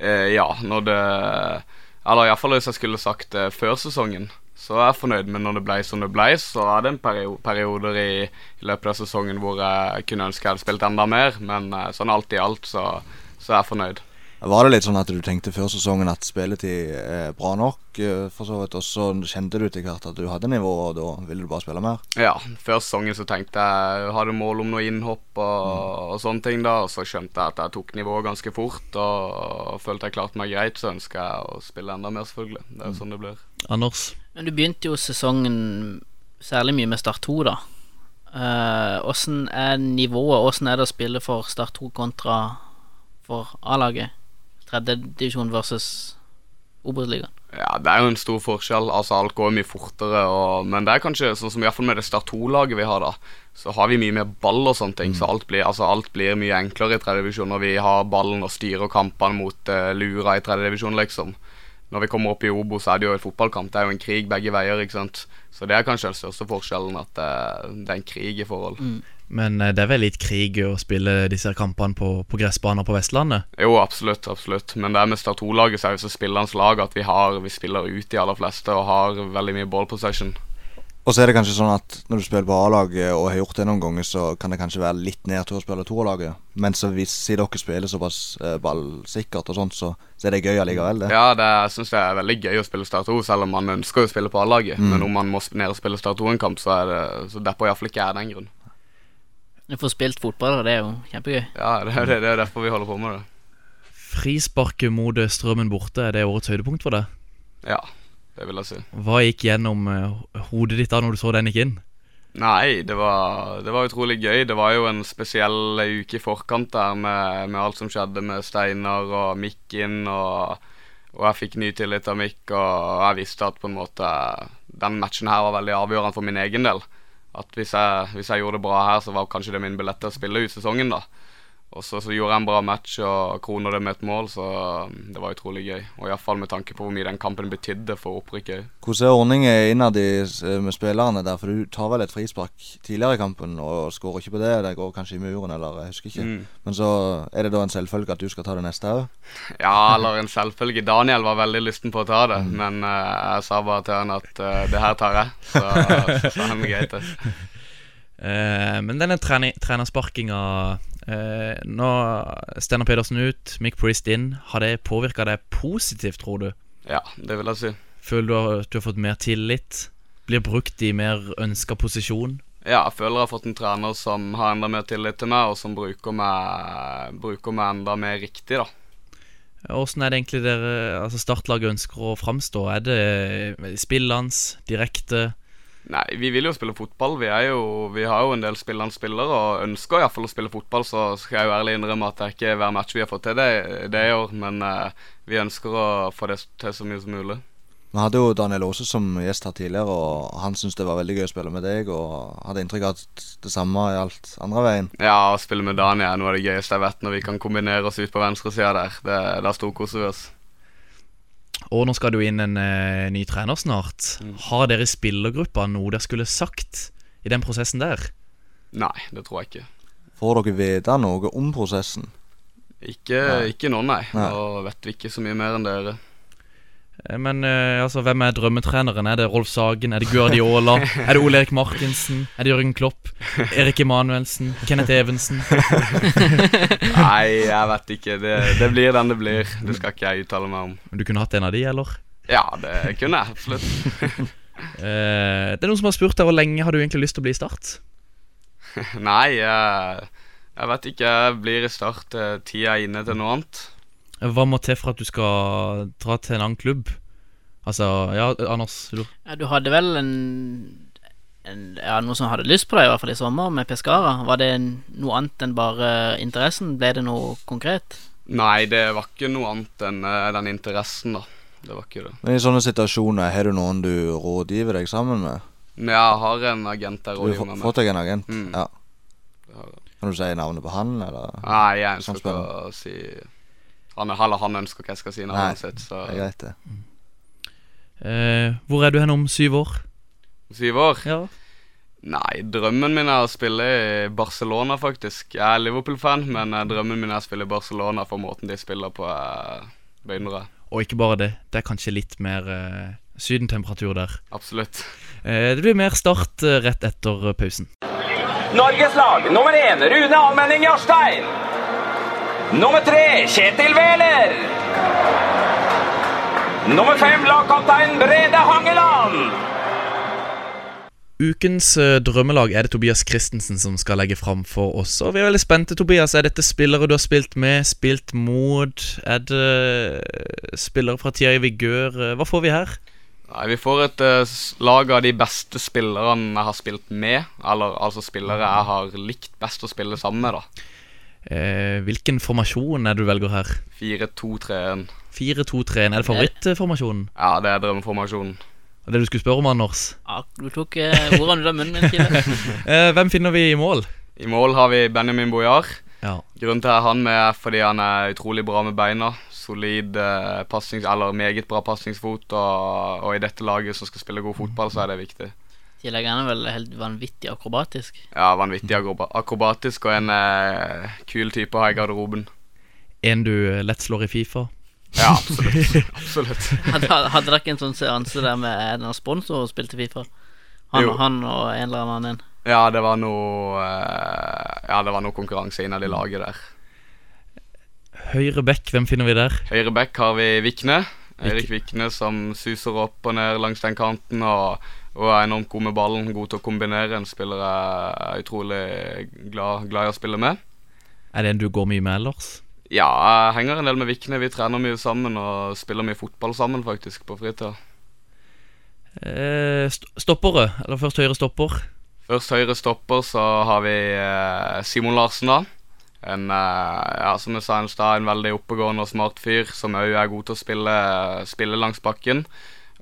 Eh, ja, når det Eller iallfall hvis jeg skulle sagt det før sesongen. Så er jeg fornøyd med når det ble som det ble. Så er det en perio perioder i, i løpet av sesongen hvor jeg kunne ønske jeg hadde spilt enda mer, men eh, sånn alt i alt så, så er jeg fornøyd.
Var det litt sånn at du tenkte før sesongen at spilletid er bra nok, eh, for så vidt, og så kjente du etter hvert at du hadde nivå, og da ville du bare spille mer?
Ja, før sesongen så tenkte jeg hadde mål om noe innhopp og, og sånne ting, da. Og så skjønte jeg at jeg tok nivået ganske fort og, og følte jeg klarte meg greit. Så ønsker jeg å spille enda mer, selvfølgelig. Det er jo sånn det blir.
Anders?
Men du begynte jo sesongen særlig mye med Start 2, da. Eh, Åssen er nivået? Åssen er det å spille for Start 2 kontra for A-laget? Tredjedivisjon versus Obos-ligaen.
Ja, det er jo en stor forskjell. Altså, Alt går mye fortere, og, men det er kanskje sånn som i hvert fall med det Start 2-laget vi har, da. Så har vi mye mer ball og sånne ting, så alt blir, altså, alt blir mye enklere i tredje divisjon når vi har ballen og styrer kampene mot eh, Lura i tredje divisjon, liksom. Når vi kommer opp i Obo, så er det jo en fotballkamp. Det er jo en krig begge veier, ikke sant. Så det er kanskje den største forskjellen, at eh, det er en krig i forhold.
Men eh, det er vel litt krig å spille disse her kampene på, på gressbaner på Vestlandet?
Jo, absolutt. absolutt Men det er med Start 2-laget så er jo så spillerens lag at vi, har, vi spiller ut de aller fleste og har veldig mye ball possession.
Og så er det kanskje sånn at når du spiller på A-laget og har gjort det noen ganger, så kan det kanskje være litt nedtur å spille toerlaget. Men så hvis siden dere spiller såpass eh, ballsikkert og sånt, så, så er det gøy allikevel, det.
Ja, det, jeg syns det er veldig gøy å spille Start 2, selv om man ønsker å spille på A-laget. Men om man må sp- ned og spille Start 2-en-kamp, så er det Så derfor iallfall ikke jeg den grunn.
Du får spilt fotball, og det er jo kjempegøy.
Ja, det, er jo det, det er jo derfor vi holder på med det.
Frisparket mot eh, Strømmen borte, er det årets høydepunkt for deg?
Ja, det vil jeg si.
Hva gikk gjennom eh, hodet ditt da når du så den gikk inn?
Nei, det var, det var utrolig gøy. Det var jo en spesiell uke i forkant der med, med alt som skjedde med Steinar og Mikk inn, og, og jeg fikk ny tillit av Mikk, og jeg visste at på en måte den matchen her var veldig avgjørende for min egen del. At hvis jeg, hvis jeg gjorde det bra her, så var kanskje det min billett til å spille ut sesongen, da. Og så, så gjorde jeg en bra match og kroner det med et mål, så um, det var utrolig gøy. Og iallfall med tanke på hvor mye den kampen betydde for opprykket.
Hvordan er ordningen innad i s- med spillerne der? For du tar vel et frispark tidligere i kampen og skårer ikke på det. Det går kanskje i muren, eller jeg husker ikke.
Mm.
Men så er det da en selvfølge at du skal ta det neste òg.
Ja, eller en selvfølge. Daniel var veldig lysten på å ta det, men eh, jeg sa bare til han at eh, det her tar jeg. Så, så han greit det.
Eh, men denne trene, trenersparkinga eh, Nå Steinar Pedersen ut, Mick Priest inn. Har det påvirka deg positivt, tror du?
Ja, det vil jeg si.
Føler du har- at du har fått mer tillit? Blir brukt i mer ønska posisjon?
Ja, jeg føler jeg har fått en trener som har enda mer tillit til meg, og som bruker meg, bruker meg enda mer riktig, da.
Åssen er det egentlig dere altså startlaget ønsker å framstå? Er det spillende, direkte?
Nei, vi vil jo spille fotball. Vi, er jo, vi har jo en del spillende spillere og ønsker iallfall å spille fotball, så skal jeg jo ærlig innrømme at det er ikke hver match vi har fått til det, det i år, men eh, vi ønsker å få det til så mye som mulig.
Vi hadde jo Daniel Aase som gjest her tidligere, og han syntes det var veldig gøy å spille med deg. Og hadde inntrykk av at det samme gjaldt andre veien.
Ja, å spille med Dania er noe av det gøyeste jeg vet, når vi kan kombinere oss ut på venstresida der. Det, der storkoser vi oss.
Og nå skal det jo inn en eh, ny trener snart. Har dere i spillergruppa noe dere skulle sagt i den prosessen der?
Nei, det tror jeg ikke.
Får dere vite noe om prosessen?
Ikke,
Nei.
ikke nå, nei.
Nei.
Nå vet vi ikke så mye mer enn dere.
Eh, Men eh, altså, hvem er drømmetreneren? Er det Rolf Sagen? Er det Gørdi Aala? Er det Ole Erik Markensen? Er det Jørgen Klopp? Erik Emanuelsen? Kenneth Evensen?
Nei, jeg vet ikke. Det, det blir den det blir. Det skal ikke jeg uttale meg om.
Du kunne hatt en av de, eller?
Ja, det kunne jeg absolutt.
Eh, det er noen som har spurt deg hvor lenge har du egentlig lyst til å bli i Start?
Nei, jeg, jeg vet ikke. Jeg blir i start eh, tida er inne til noe annet.
Hva må til for at du skal dra til en annen klubb? Altså, ja, Anders du,
Ja, du hadde vel en, en Ja, noen som hadde lyst på deg, i hvert fall i sommer, med Pescara. Var det en- noe annet enn bare interessen? Ble det noe konkret?
Nei, det var ikke noe annet enn eh, den interessen, da. Det var ikke det.
Men I sånne situasjoner, har du noen du rådgiver deg sammen med?
Men jeg har en agent der
Du har
rådgivende
få-
med.
fått deg en agent?
Mm.
Ja.
Det har jeg.
Kan du si navnet på han, eller?
Nei, jeg
Sånn
ønsker ikke å si han, eller han ønsker ikke jeg skal si
Nei.
navnet sitt, så
Det er greit, det.
eh, Hvor er du hen om syv år?
Syv år?
Ja.
Nei, drømmen min er å spille i Barcelona, faktisk. Jeg er Liverpool-fan, men eh, drømmen min er å spille i Barcelona for måten de spiller på. eh, Beundrer jeg.
Og ikke bare det, det er kanskje litt mer eh, sydentemperatur der.
Absolutt.
Eh, det blir mer start eh, rett etter eh, pausen.
Norges lag nummer én Rune Almenning Jarstein. Nummer tre Kjetil Wæler. Nummer fem lagkaptein Brede Hangeland.
Ukens eh, drømmelag er det Tobias Christensen som skal legge fram for oss. Og vi er veldig spente, Tobias. Er dette spillere du har spilt med, spilt mot? Er det eh, spillere fra tida i vigør? Eh, Hva får vi her?
Nei, Vi får et eh, s- lag av de beste spillerne jeg har spilt med. Eller altså spillere jeg har likt best å spille sammen med, da.
Eh, hvilken formasjon er det du velger her?
4-2-3-1.
4-2-3-1. Er det favorittformasjonen?
Ja, det er drømmeformasjonen.
Det du skulle spørre om, Anders.
Ja, du tok eh, ordene ut av munnen min, (laughs) Kile.
Eh, hvem finner vi i mål?
I mål har vi Benjamin Bojar.
Ja.
Grunnen til at jeg har han med er fordi han er utrolig bra med beina. Solid eh, passings, eller meget bra pasningsfot, og, og i dette laget som skal spille god fotball, så er det viktig.
I tillegg er han vel helt vanvittig akrobatisk.
Ja, Vanvittig akroba- akrobatisk og en eh, kul type å ha i garderoben.
En du eh, lett slår i Fifa.
Ja, absolutt. absolutt.
Hadde, hadde dere ikke en sånn seanse der med en eller annen sponsor og spilte Fifa? Han,
Jo.
han og en eller annen en.
Ja, det var noe eh, Ja, det var noe konkurranse innad i laget der.
Høyre back, hvem finner vi der?
Høyre back har vi Vikne. Erik Vikne som suser opp og ned langs den kanten og, og er enormt god med ballen. God til å kombinere. En spiller jeg er utrolig glad, glad i å spille med.
Er det en du går mye med ellers?
Ja, jeg henger en del med Vikne. Vi trener mye sammen og spiller mye fotball sammen faktisk på fritida.
Eh, st stoppere, eller først eh. høyre stopper.
Først høyre stopper, så har vi eh, Simon Larsen, da. En, eh, ja, som jeg sa i stad, en veldig oppegående og smart fyr som òg er god til å spille, spille langs bakken.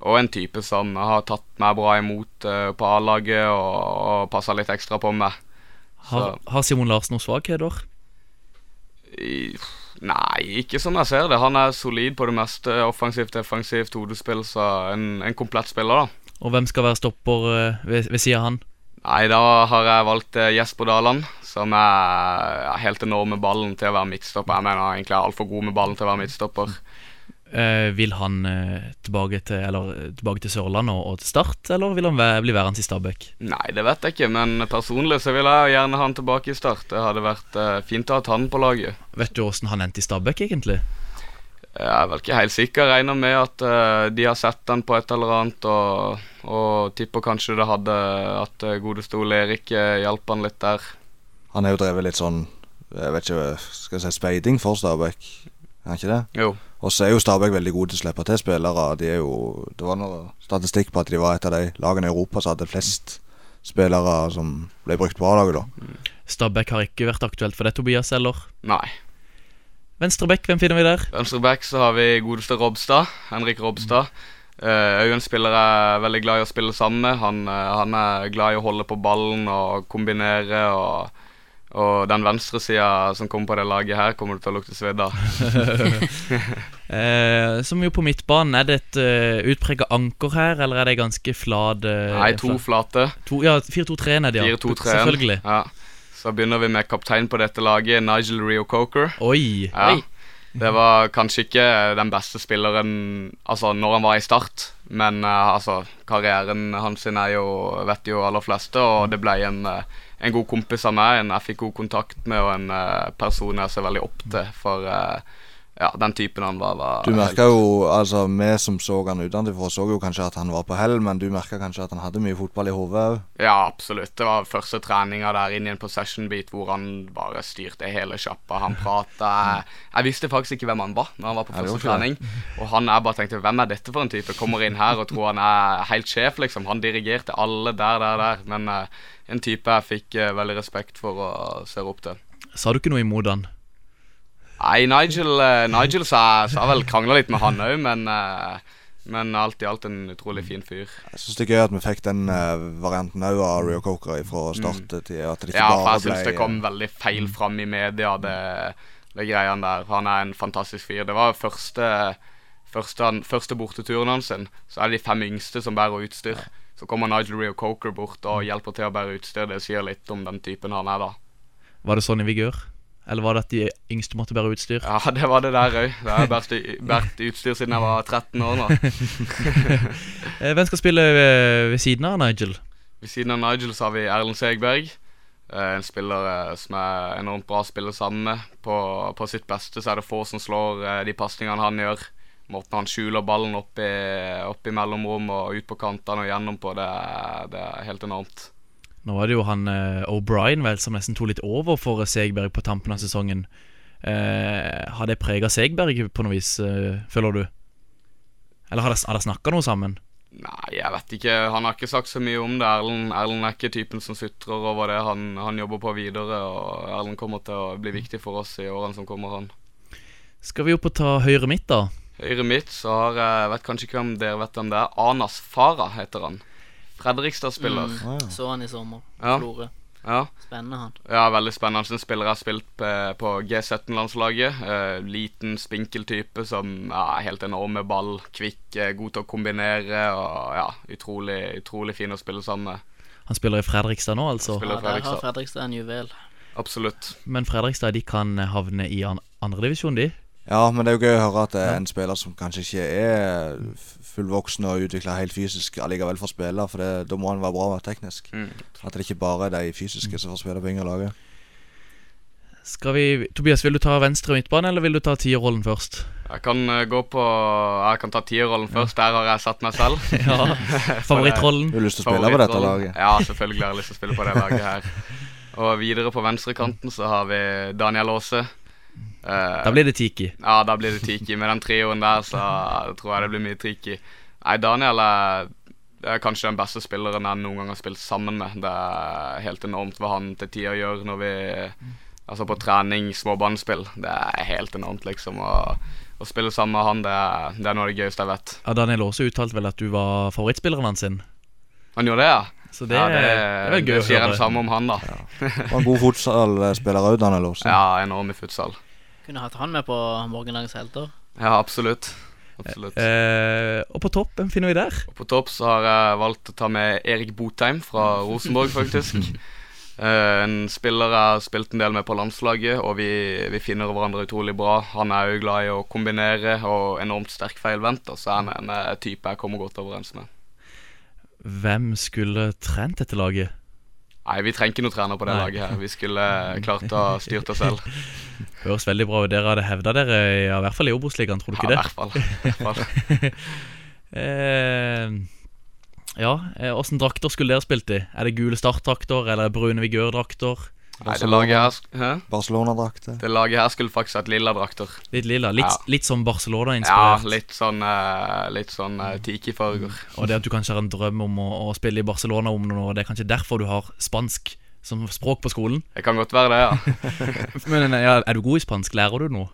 Og en type som har tatt meg bra imot eh, på A-laget og, og passa litt ekstra på meg.
Har, har Simon Larsen noen svakheter?
I- Nei, ikke som jeg ser det. Han er solid på det meste. Offensivt, defensivt, hodespill. Så en, en komplett spiller, da.
Og hvem skal være stopper eh, ved, ved sida av han?
Nei, da har jeg valgt eh, Jesper Daland, som er er helt enorm med ballen til å være midtstopper. Jeg mener han egentlig er altfor god med ballen til å være midtstopper.
Eh, vil han eh, tilbake, til, eller, eh, tilbake til Sørlandet og, og til Start, eller vil han væ- bli værende i Stabæk?
Nei, det vet jeg ikke, men personlig så vil jeg gjerne ha han tilbake i start. Det hadde vært eh, fint å ha han på laget.
Vet du åssen han endte i Stabæk, egentlig?
Jeg er vel ikke helt sikker. Regner med at eh, de har sett den på et eller annet, og, og tipper kanskje det hadde at eh, godeste Ole Erik eh, hjalp han litt der.
Han har jo drevet litt sånn jeg vet ikke, skal jeg si speiding for Stabæk. Er han ikke det?
Jo.
Og så er jo Stabæk veldig gode til å slippe til spillere. De er jo, det var noe statistikk på at de var et av de lagene i Europa som hadde flest spillere som ble brukt på A-laget. da.
Stabæk har ikke vært aktuelt for det, Tobias, eller?
Nei.
Venstrebekk, hvem finner vi der?
Venstre back så har vi godeste Robstad. Henrik Robstad. Òg en spiller jeg er veldig glad i å spille sammen med. Han, eh, han er glad i å holde på ballen og kombinere. og... Og den venstre sida som kommer på det laget her, kommer det til å lukte svedd av.
Eh, som jo på midtbanen, er det et uh, utprega anker her, eller er det ganske flat eh,
Nei, to
flat-
flate.
to Ja, 4-2-3-en er det, ja.
4-2-3-en.
Selvfølgelig.
Ja. Så begynner vi med kaptein på dette laget, Nigel Rio Coker.
Oi.
Ja.
Oi.
Det var kanskje ikke den beste spilleren altså, når han var i Start, men eh, altså, karrieren hans sin er jo, vet jo aller fleste, og det ble en, eh, en god kompis av meg, en jeg fikk god kontakt med, og en eh, person jeg ser veldig opp til for eh, ja, den typen han var. var
Du merka
helt-
jo, altså vi som så han utenfor, så jo kanskje at han var på hell, men du merka kanskje at han hadde mye fotball i hodet òg.
Ja, absolutt. Det var første treninga der inn i en possession-bit hvor han bare styrte hele sjappa. Han prata Jeg visste faktisk ikke hvem han var når han var på
Nei, det
første
var
trening. Og han jeg bare tenkte Hvem er dette for en type? Kommer inn her og tror han er helt sjef, liksom. Han dirigerte alle der, der, der. Men eh, en type jeg fikk eh, veldig respekt for og ser opp til.
Sa du ikke noe imot han?
Nei, Nigel, eh, Nigel sa, sa vel krangla litt med han òg, men, eh, men alt i alt en utrolig fin fyr.
Jeg syns det er gøy at vi fikk den eh, varianten òg av Rio Coker fra start til at det
Mm.
ikke
Ja, for
bare
jeg syns
ble Mm.
det kom veldig feil fram i media, det, det greiene der. Han er en fantastisk fyr. Det var første, første, han- første borteturen hans. sin. Så er det de fem yngste som bærer utstyr. Så kommer Nigel Rio Coker bort
Mm.
og hjelper til å bære utstyr. Det sier litt om den typen han er, da.
Var det sånn i vigør? Eller var det at de yngste måtte bære utstyr?
(laughs) Ja, det var det der òg. Jeg har båret båret utstyr siden jeg var 13 år nå.
Eh, hvem skal spille eh, ved, ved siden av Nigel?
Ved siden av Nigel så har vi Erlend Segberg. eh, En spiller eh, som er enormt bra å spille sammen med. På, på sitt beste så er det få som slår eh, de pasningene han gjør. Måten han skjuler ballen opp i, opp i mellomrom og ut på kantene og gjennom på, det er, det er helt enormt.
Nå var det jo han eh, O'Brien vel som nesten tok litt over for eh, Segberg på tampen
Mm.
av sesongen. Eh, har det prega Segberg på noe vis, eh, føler du? Eller har de, har de snakka noe sammen?
Nei, jeg vet ikke. Han har ikke sagt så mye om det. Erlend, Erlend er ikke typen som sutrer over det. Han, han jobber på videre, og Erlend kommer til å bli viktig for oss i årene som kommer. han.
Skal vi opp og ta høyre midt, da?
Høyre mitt så har jeg vet kanskje ikke hvem dere vet hvem det er. Anas Farah heter han. Fredrikstad-spiller.
ja.
Mm. Så han i sommer.
Ah, Ja.
Florø.
Ja.
Spennende, han.
ja, veldig spennende. En spiller jeg har spilt eh, på G17-landslaget. Eh, liten, spinkel type som ja, er helt enorm med ball. Kvikk, eh, god til å kombinere og ja, utrolig, utrolig fin å spille sammen med.
Han spiller i Fredrikstad nå, altså.
Spiller
Ja, der har
Fredrikstad.
Fredrikstad en juvel.
Absolutt.
Men Fredrikstad de kan eh, havne i an andredivisjon, de.
ja, men det er jo gøy å høre at det er en spiller som kanskje ikke er f- fullvoksen og utvikla helt fysisk, allikevel får spille, for det, da må han være bra teknisk.
Mm.
At det ikke bare er de fysiske som får spille på yngre laget.
Skal vi Tobias, vil du ta venstre midtbane, eller vil du ta tierrollen
(laughs)
først?
Jeg kan eh, gå på Jeg kan ta tierrollen først. Der har jeg satt meg selv.
Ja, Favorittrollen.
Du har lyst til å spille på dette
Favorittrollen.
laget?
Ja, selvfølgelig har jeg lyst til å spille på det laget her. Og videre på venstrekanten så har vi Daniel Aase. Eh,
Da blir det Tiki.
Ja, da blir det Tiki. Med den trioen der så tror jeg det blir mye Tiki. Nei, Daniel er Det er kanskje den beste spilleren jeg noen gang har spilt sammen med. Det er helt enormt hva han til tider gjør når vi Altså på trening, småbanespill. Det er helt enormt, liksom. Å, å spille sammen med han, det er, det er noe av det gøyeste jeg vet.
Ja, Daniel Aase uttalte vel at du var favorittspilleren hans sin.
Han gjorde det, ja.
Så det,
ja,
det, er vel gøy
det
å
sier
høre.
det samme om han, da. Ja,
Og en god fotballspiller òg, Daniel Aasen.
enorm i futsal.
Kunne hatt han med på morgendagens helter.
Ja, absolutt. Absolutt.
Eh, og på topp, hvem finner vi der?
Og på topp så har jeg valgt å ta med Erik Botheim fra Rosenborg,
(laughs)
faktisk. Eh, en spiller jeg har spilt en del med på landslaget, og vi, vi finner hverandre utrolig bra. Han er jo glad i å kombinere og enormt sterk feilvendt, og så er han en eh, type jeg kommer godt overens med.
Hvem skulle trent dette laget?
Nei, vi trenger ikke noen trener på det
Nei.
laget her. Vi skulle eh, klart å styrt oss selv.
Høres veldig bra ut. Dere hadde hevda dere, i- ja, i hvert fall i Obos-ligaen, tror du (laughs)
Ja,
ikke
i
det?
hvert fall. I hvert fall.
(laughs) Eh, ja, eh, åssen drakter skulle dere spilt i? Er det gule startdrakter eller brune vigørdrakter?
Nei, det laget her, sk- hæ?
Barcelona-drakte.
det laget her skulle faktisk hatt lilla drakter.
Litt lilla. Litt,
Ja.
litt som
Ja,
Barcelona-inspirert.
litt sånn, eh, litt sånn eh, tiki-farger.
Og det at du kanskje har en drøm om å, å spille i Barcelona om noen år, det er kanskje derfor du har spansk som språk på skolen.
Det kan godt være det, ja.
Men ja, er du god i spansk? Lærer du noe?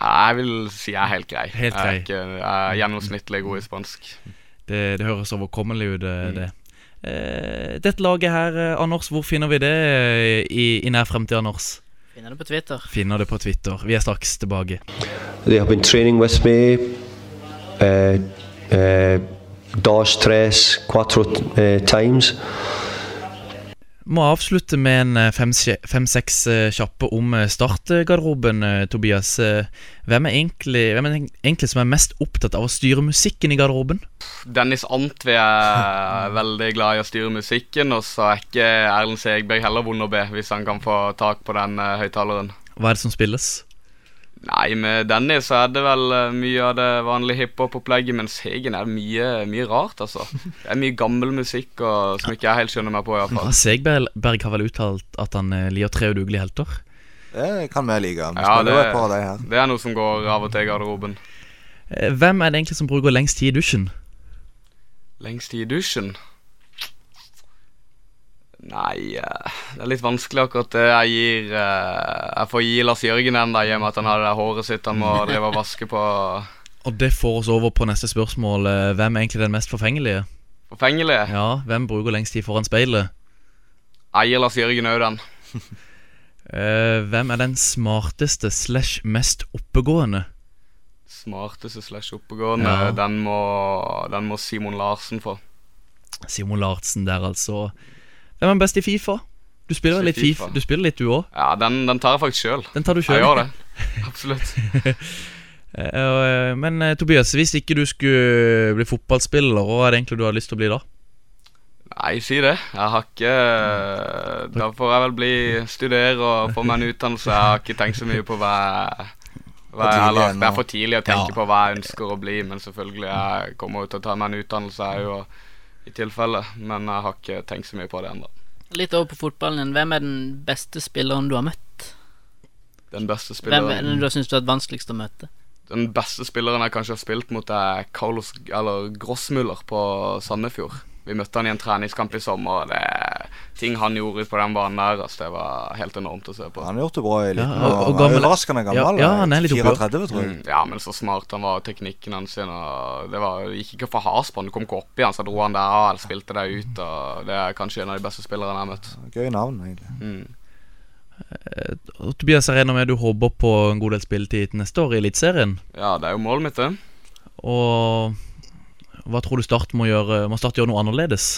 Jeg vil si jeg er helt grei.
Helt grei.
Jeg, er ikke, jeg er gjennomsnittlig god i spansk.
Det, det høres overkommelig ut, det. det. Eh, dette laget her, eh, Anders, hvor finner vi det eh, i, i nær fremtid, Anders?
Finner det på Twitter.
Finner det på Twitter. Vi er straks tilbake.
They have been training with me uh, uh, dos, tres, cuatro uh, times.
Må avslutte med en eh, fem- fem-seks eh, kjappe om eh, startgarderoben, eh, Tobias. Eh, Hvem er, egentlig, hvem er egentlig som er mest opptatt av å styre musikken i garderoben?
Dennis Antvi er veldig glad i å styre musikken, og så er ikke Erlend Segberg heller vond å be, hvis han kan få tak på den eh, høyttaleren.
Hva er det som spilles?
Nei, med Dennis så er det vel eh, mye av det vanlige hiphop-opplegget, men Segen er mye, mye rart, altså. Det er mye gammel musikk og, som ikke jeg helt skjønner meg på,
Ja,
iallfall.
Ah, Segberg Berg har vel uttalt at han eh, liker tre udugelige helter.
Det kan vi like. Vi
Ja,
spiller jo
det-
et par av de her.
Det er noe som går av og til i garderoben.
Eh, Hvem er det egentlig som bruker lengst tid i dusjen?
Lengst tid i dusjen? Nei, eh, det er litt vanskelig akkurat det. Jeg gir eh, Jeg får gi Lars Jørgen en, da, i og med at han har det der håret sitt han må drive og vaske på.
Og det får oss over på neste spørsmål. eh, Hvem er egentlig den mest forfengelige?
Forfengelig.
Ja, hvem bruker lengst tid foran speilet?
Jeg gir Lars Jørgen òg den.
Eh, hvem er den smarteste slash mest oppegående?
Smarteste slash oppegående.
Ja.
Den, må, den må Simon Larsen få.
Simon Lartsen der, altså. Hvem er best i Fifa? Du spiller
Best i
litt FIFA.
FIFA.
Du spiller litt, du òg.
Ja, den, den tar jeg faktisk sjøl.
Den tar du
Jeg
sjøl.
gjør det. Absolutt.
Men eh, Tobias, hvis ikke du skulle bli fotballspiller, hva er det egentlig du har lyst til å bli da?
Nei, si det. Jeg har ikke eh, Da får jeg vel bli studere og få meg en utdannelse. Jeg har ikke tenkt så mye på hva jeg hva jeg,
tidlig
eller, det er
ennå.
for tidlig å tenke
Ja.
på hva jeg ønsker å bli, men selvfølgelig jeg kommer jo til å ta meg en utdannelse jeg er jo i tilfelle. Men jeg har ikke tenkt så mye på det ennå.
Litt over på fotballen igjen. Hvem er den beste spilleren du har møtt?
Den beste
Hvem er
spilleren
den du har syntes du har vært vanskeligst å møte?
Den beste spilleren jeg kanskje har spilt mot, er Carlos eller Grossmuller på Sandefjord. Vi møtte han i en treningskamp i sommer. og Det, ting han gjorde på den banen der, altså, det var helt enormt å se på.
Han har gjort det bra i eliten.
Ja, og- og
og,
gammel-
Overraskende gammel.
Ja, ja, han er litt oppi år.
34, tror jeg.
Mm, Ja, men så smart han var, teknikken hans sin, og det var, det gikk ikke for hardt på han. Du kom ikke opp i han, så dro han der av, eller spilte deg ut, og det er kanskje en av de beste spillerne jeg har møtt.
Gøy navn, egentlig.
Mm.
Og Tobias, jeg regner med du håper på en god del spilletid til neste år i Eliteserien.
Ja, det er jo målet mitt, det.
Og hva tror du Start må gjøre? Må Start gjøre noe annerledes?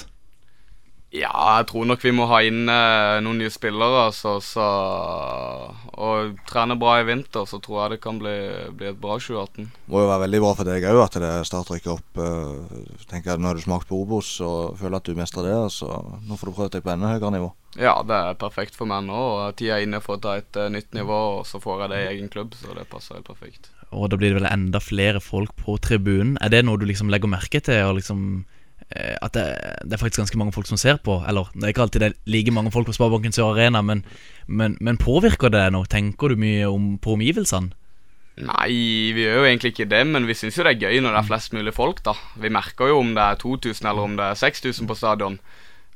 Ja, jeg tror nok vi må ha inn eh, noen nye spillere, altså, så Og trene bra i vinter, så tror jeg det kan bli, bli et bra 2018.
Må jo være veldig bra for deg òg at det Start rykker opp. eh, tenker at Nå har du smakt på Obos og føler at du mestrer det, så nå får du prøvd deg på enda høyere nivå.
Ja, det er perfekt for meg nå. og Tida er inne for å ta et eh, nytt nivå, og så får jeg det i egen klubb, så det passer helt perfekt.
Og da blir det vel enda flere folk på tribunen. Er det noe du liksom legger merke til? Og liksom, eh, at det, det er faktisk ganske mange folk som ser på? Eller det er ikke alltid det er like mange folk på Sparebanken Sør Arena, men, men, men påvirker det deg noe? Tenker du mye om, på omgivelsene?
Nei, vi gjør jo egentlig ikke det, men vi syns jo det er gøy når det er flest mulig folk, da. Vi merker jo om det er 2000 eller om det er 6000 på stadion.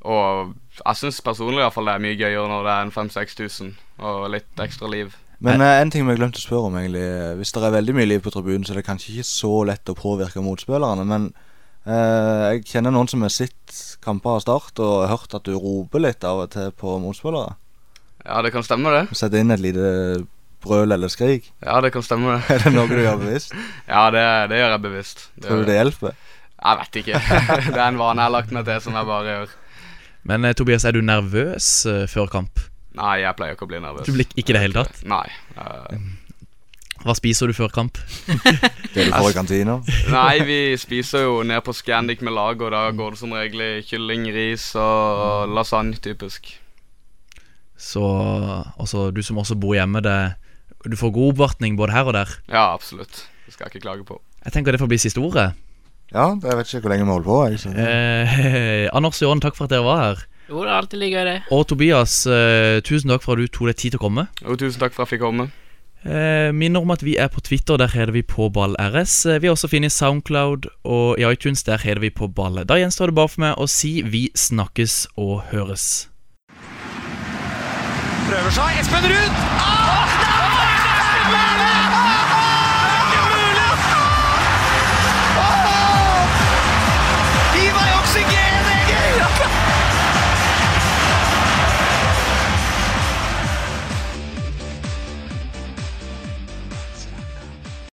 Og jeg syns personlig i hvert fall det er mye gøyere når det er en 5000-6000 og litt ekstra liv.
Men eh, en ting vi har glemt å spørre om, egentlig. eh, Hvis det er veldig mye liv på tribunen, så er det kanskje ikke så lett å påvirke motspillerne. Men eh, jeg kjenner noen som har sett kamper av start og har hørt at du roper litt av og til på motspillere.
Ja, det kan stemme, det.
Sette inn et lite brøl eller skrik. (laughs)
Ja, det kan stemme, det.
Er det noe du gjør bevisst?
(laughs) Ja, det, det gjør jeg bevisst. Det
Tror
gjør
du det hjelper?
Jeg vet ikke. (laughs) det er en vane jeg har lagt meg til som jeg bare gjør.
Men eh, Tobias, er du nervøs eh, før kamp?
Nei, jeg pleier ikke å bli nervøs.
Du blir ikke i det hele tatt?
Nei. eh,
Hva spiser du før kamp?
Det du får i kantina?
nei, vi spiser jo ned på Scandic med lag, og da går det som regel i kylling, ris og lasagne, typisk.
Så altså, du som også bor hjemme, det, du får god oppvartning både her og der.
Ja, absolutt. Det skal jeg ikke klage på.
Jeg tenker det får bli siste ordet.
Ja, jeg vet ikke hvor lenge vi holder på. Jeg, så.
Eh, (laughs) Anders og Jørn, takk for at dere var her.
Jo, det er alltid like gøy, det.
Og Tobias, eh, tusen takk for at du tok deg tid til å komme.
Jo, tusen takk for at jeg fikk komme.
Eh, minner om at vi er på Twitter, der heter vi på Ball RS. Eh, Vi har også funnet Soundcloud, og i iTunes der heter vi på Ball. Da gjenstår det bare for meg å si vi snakkes og høres.
Prøver seg. Espen Ruud! Ah!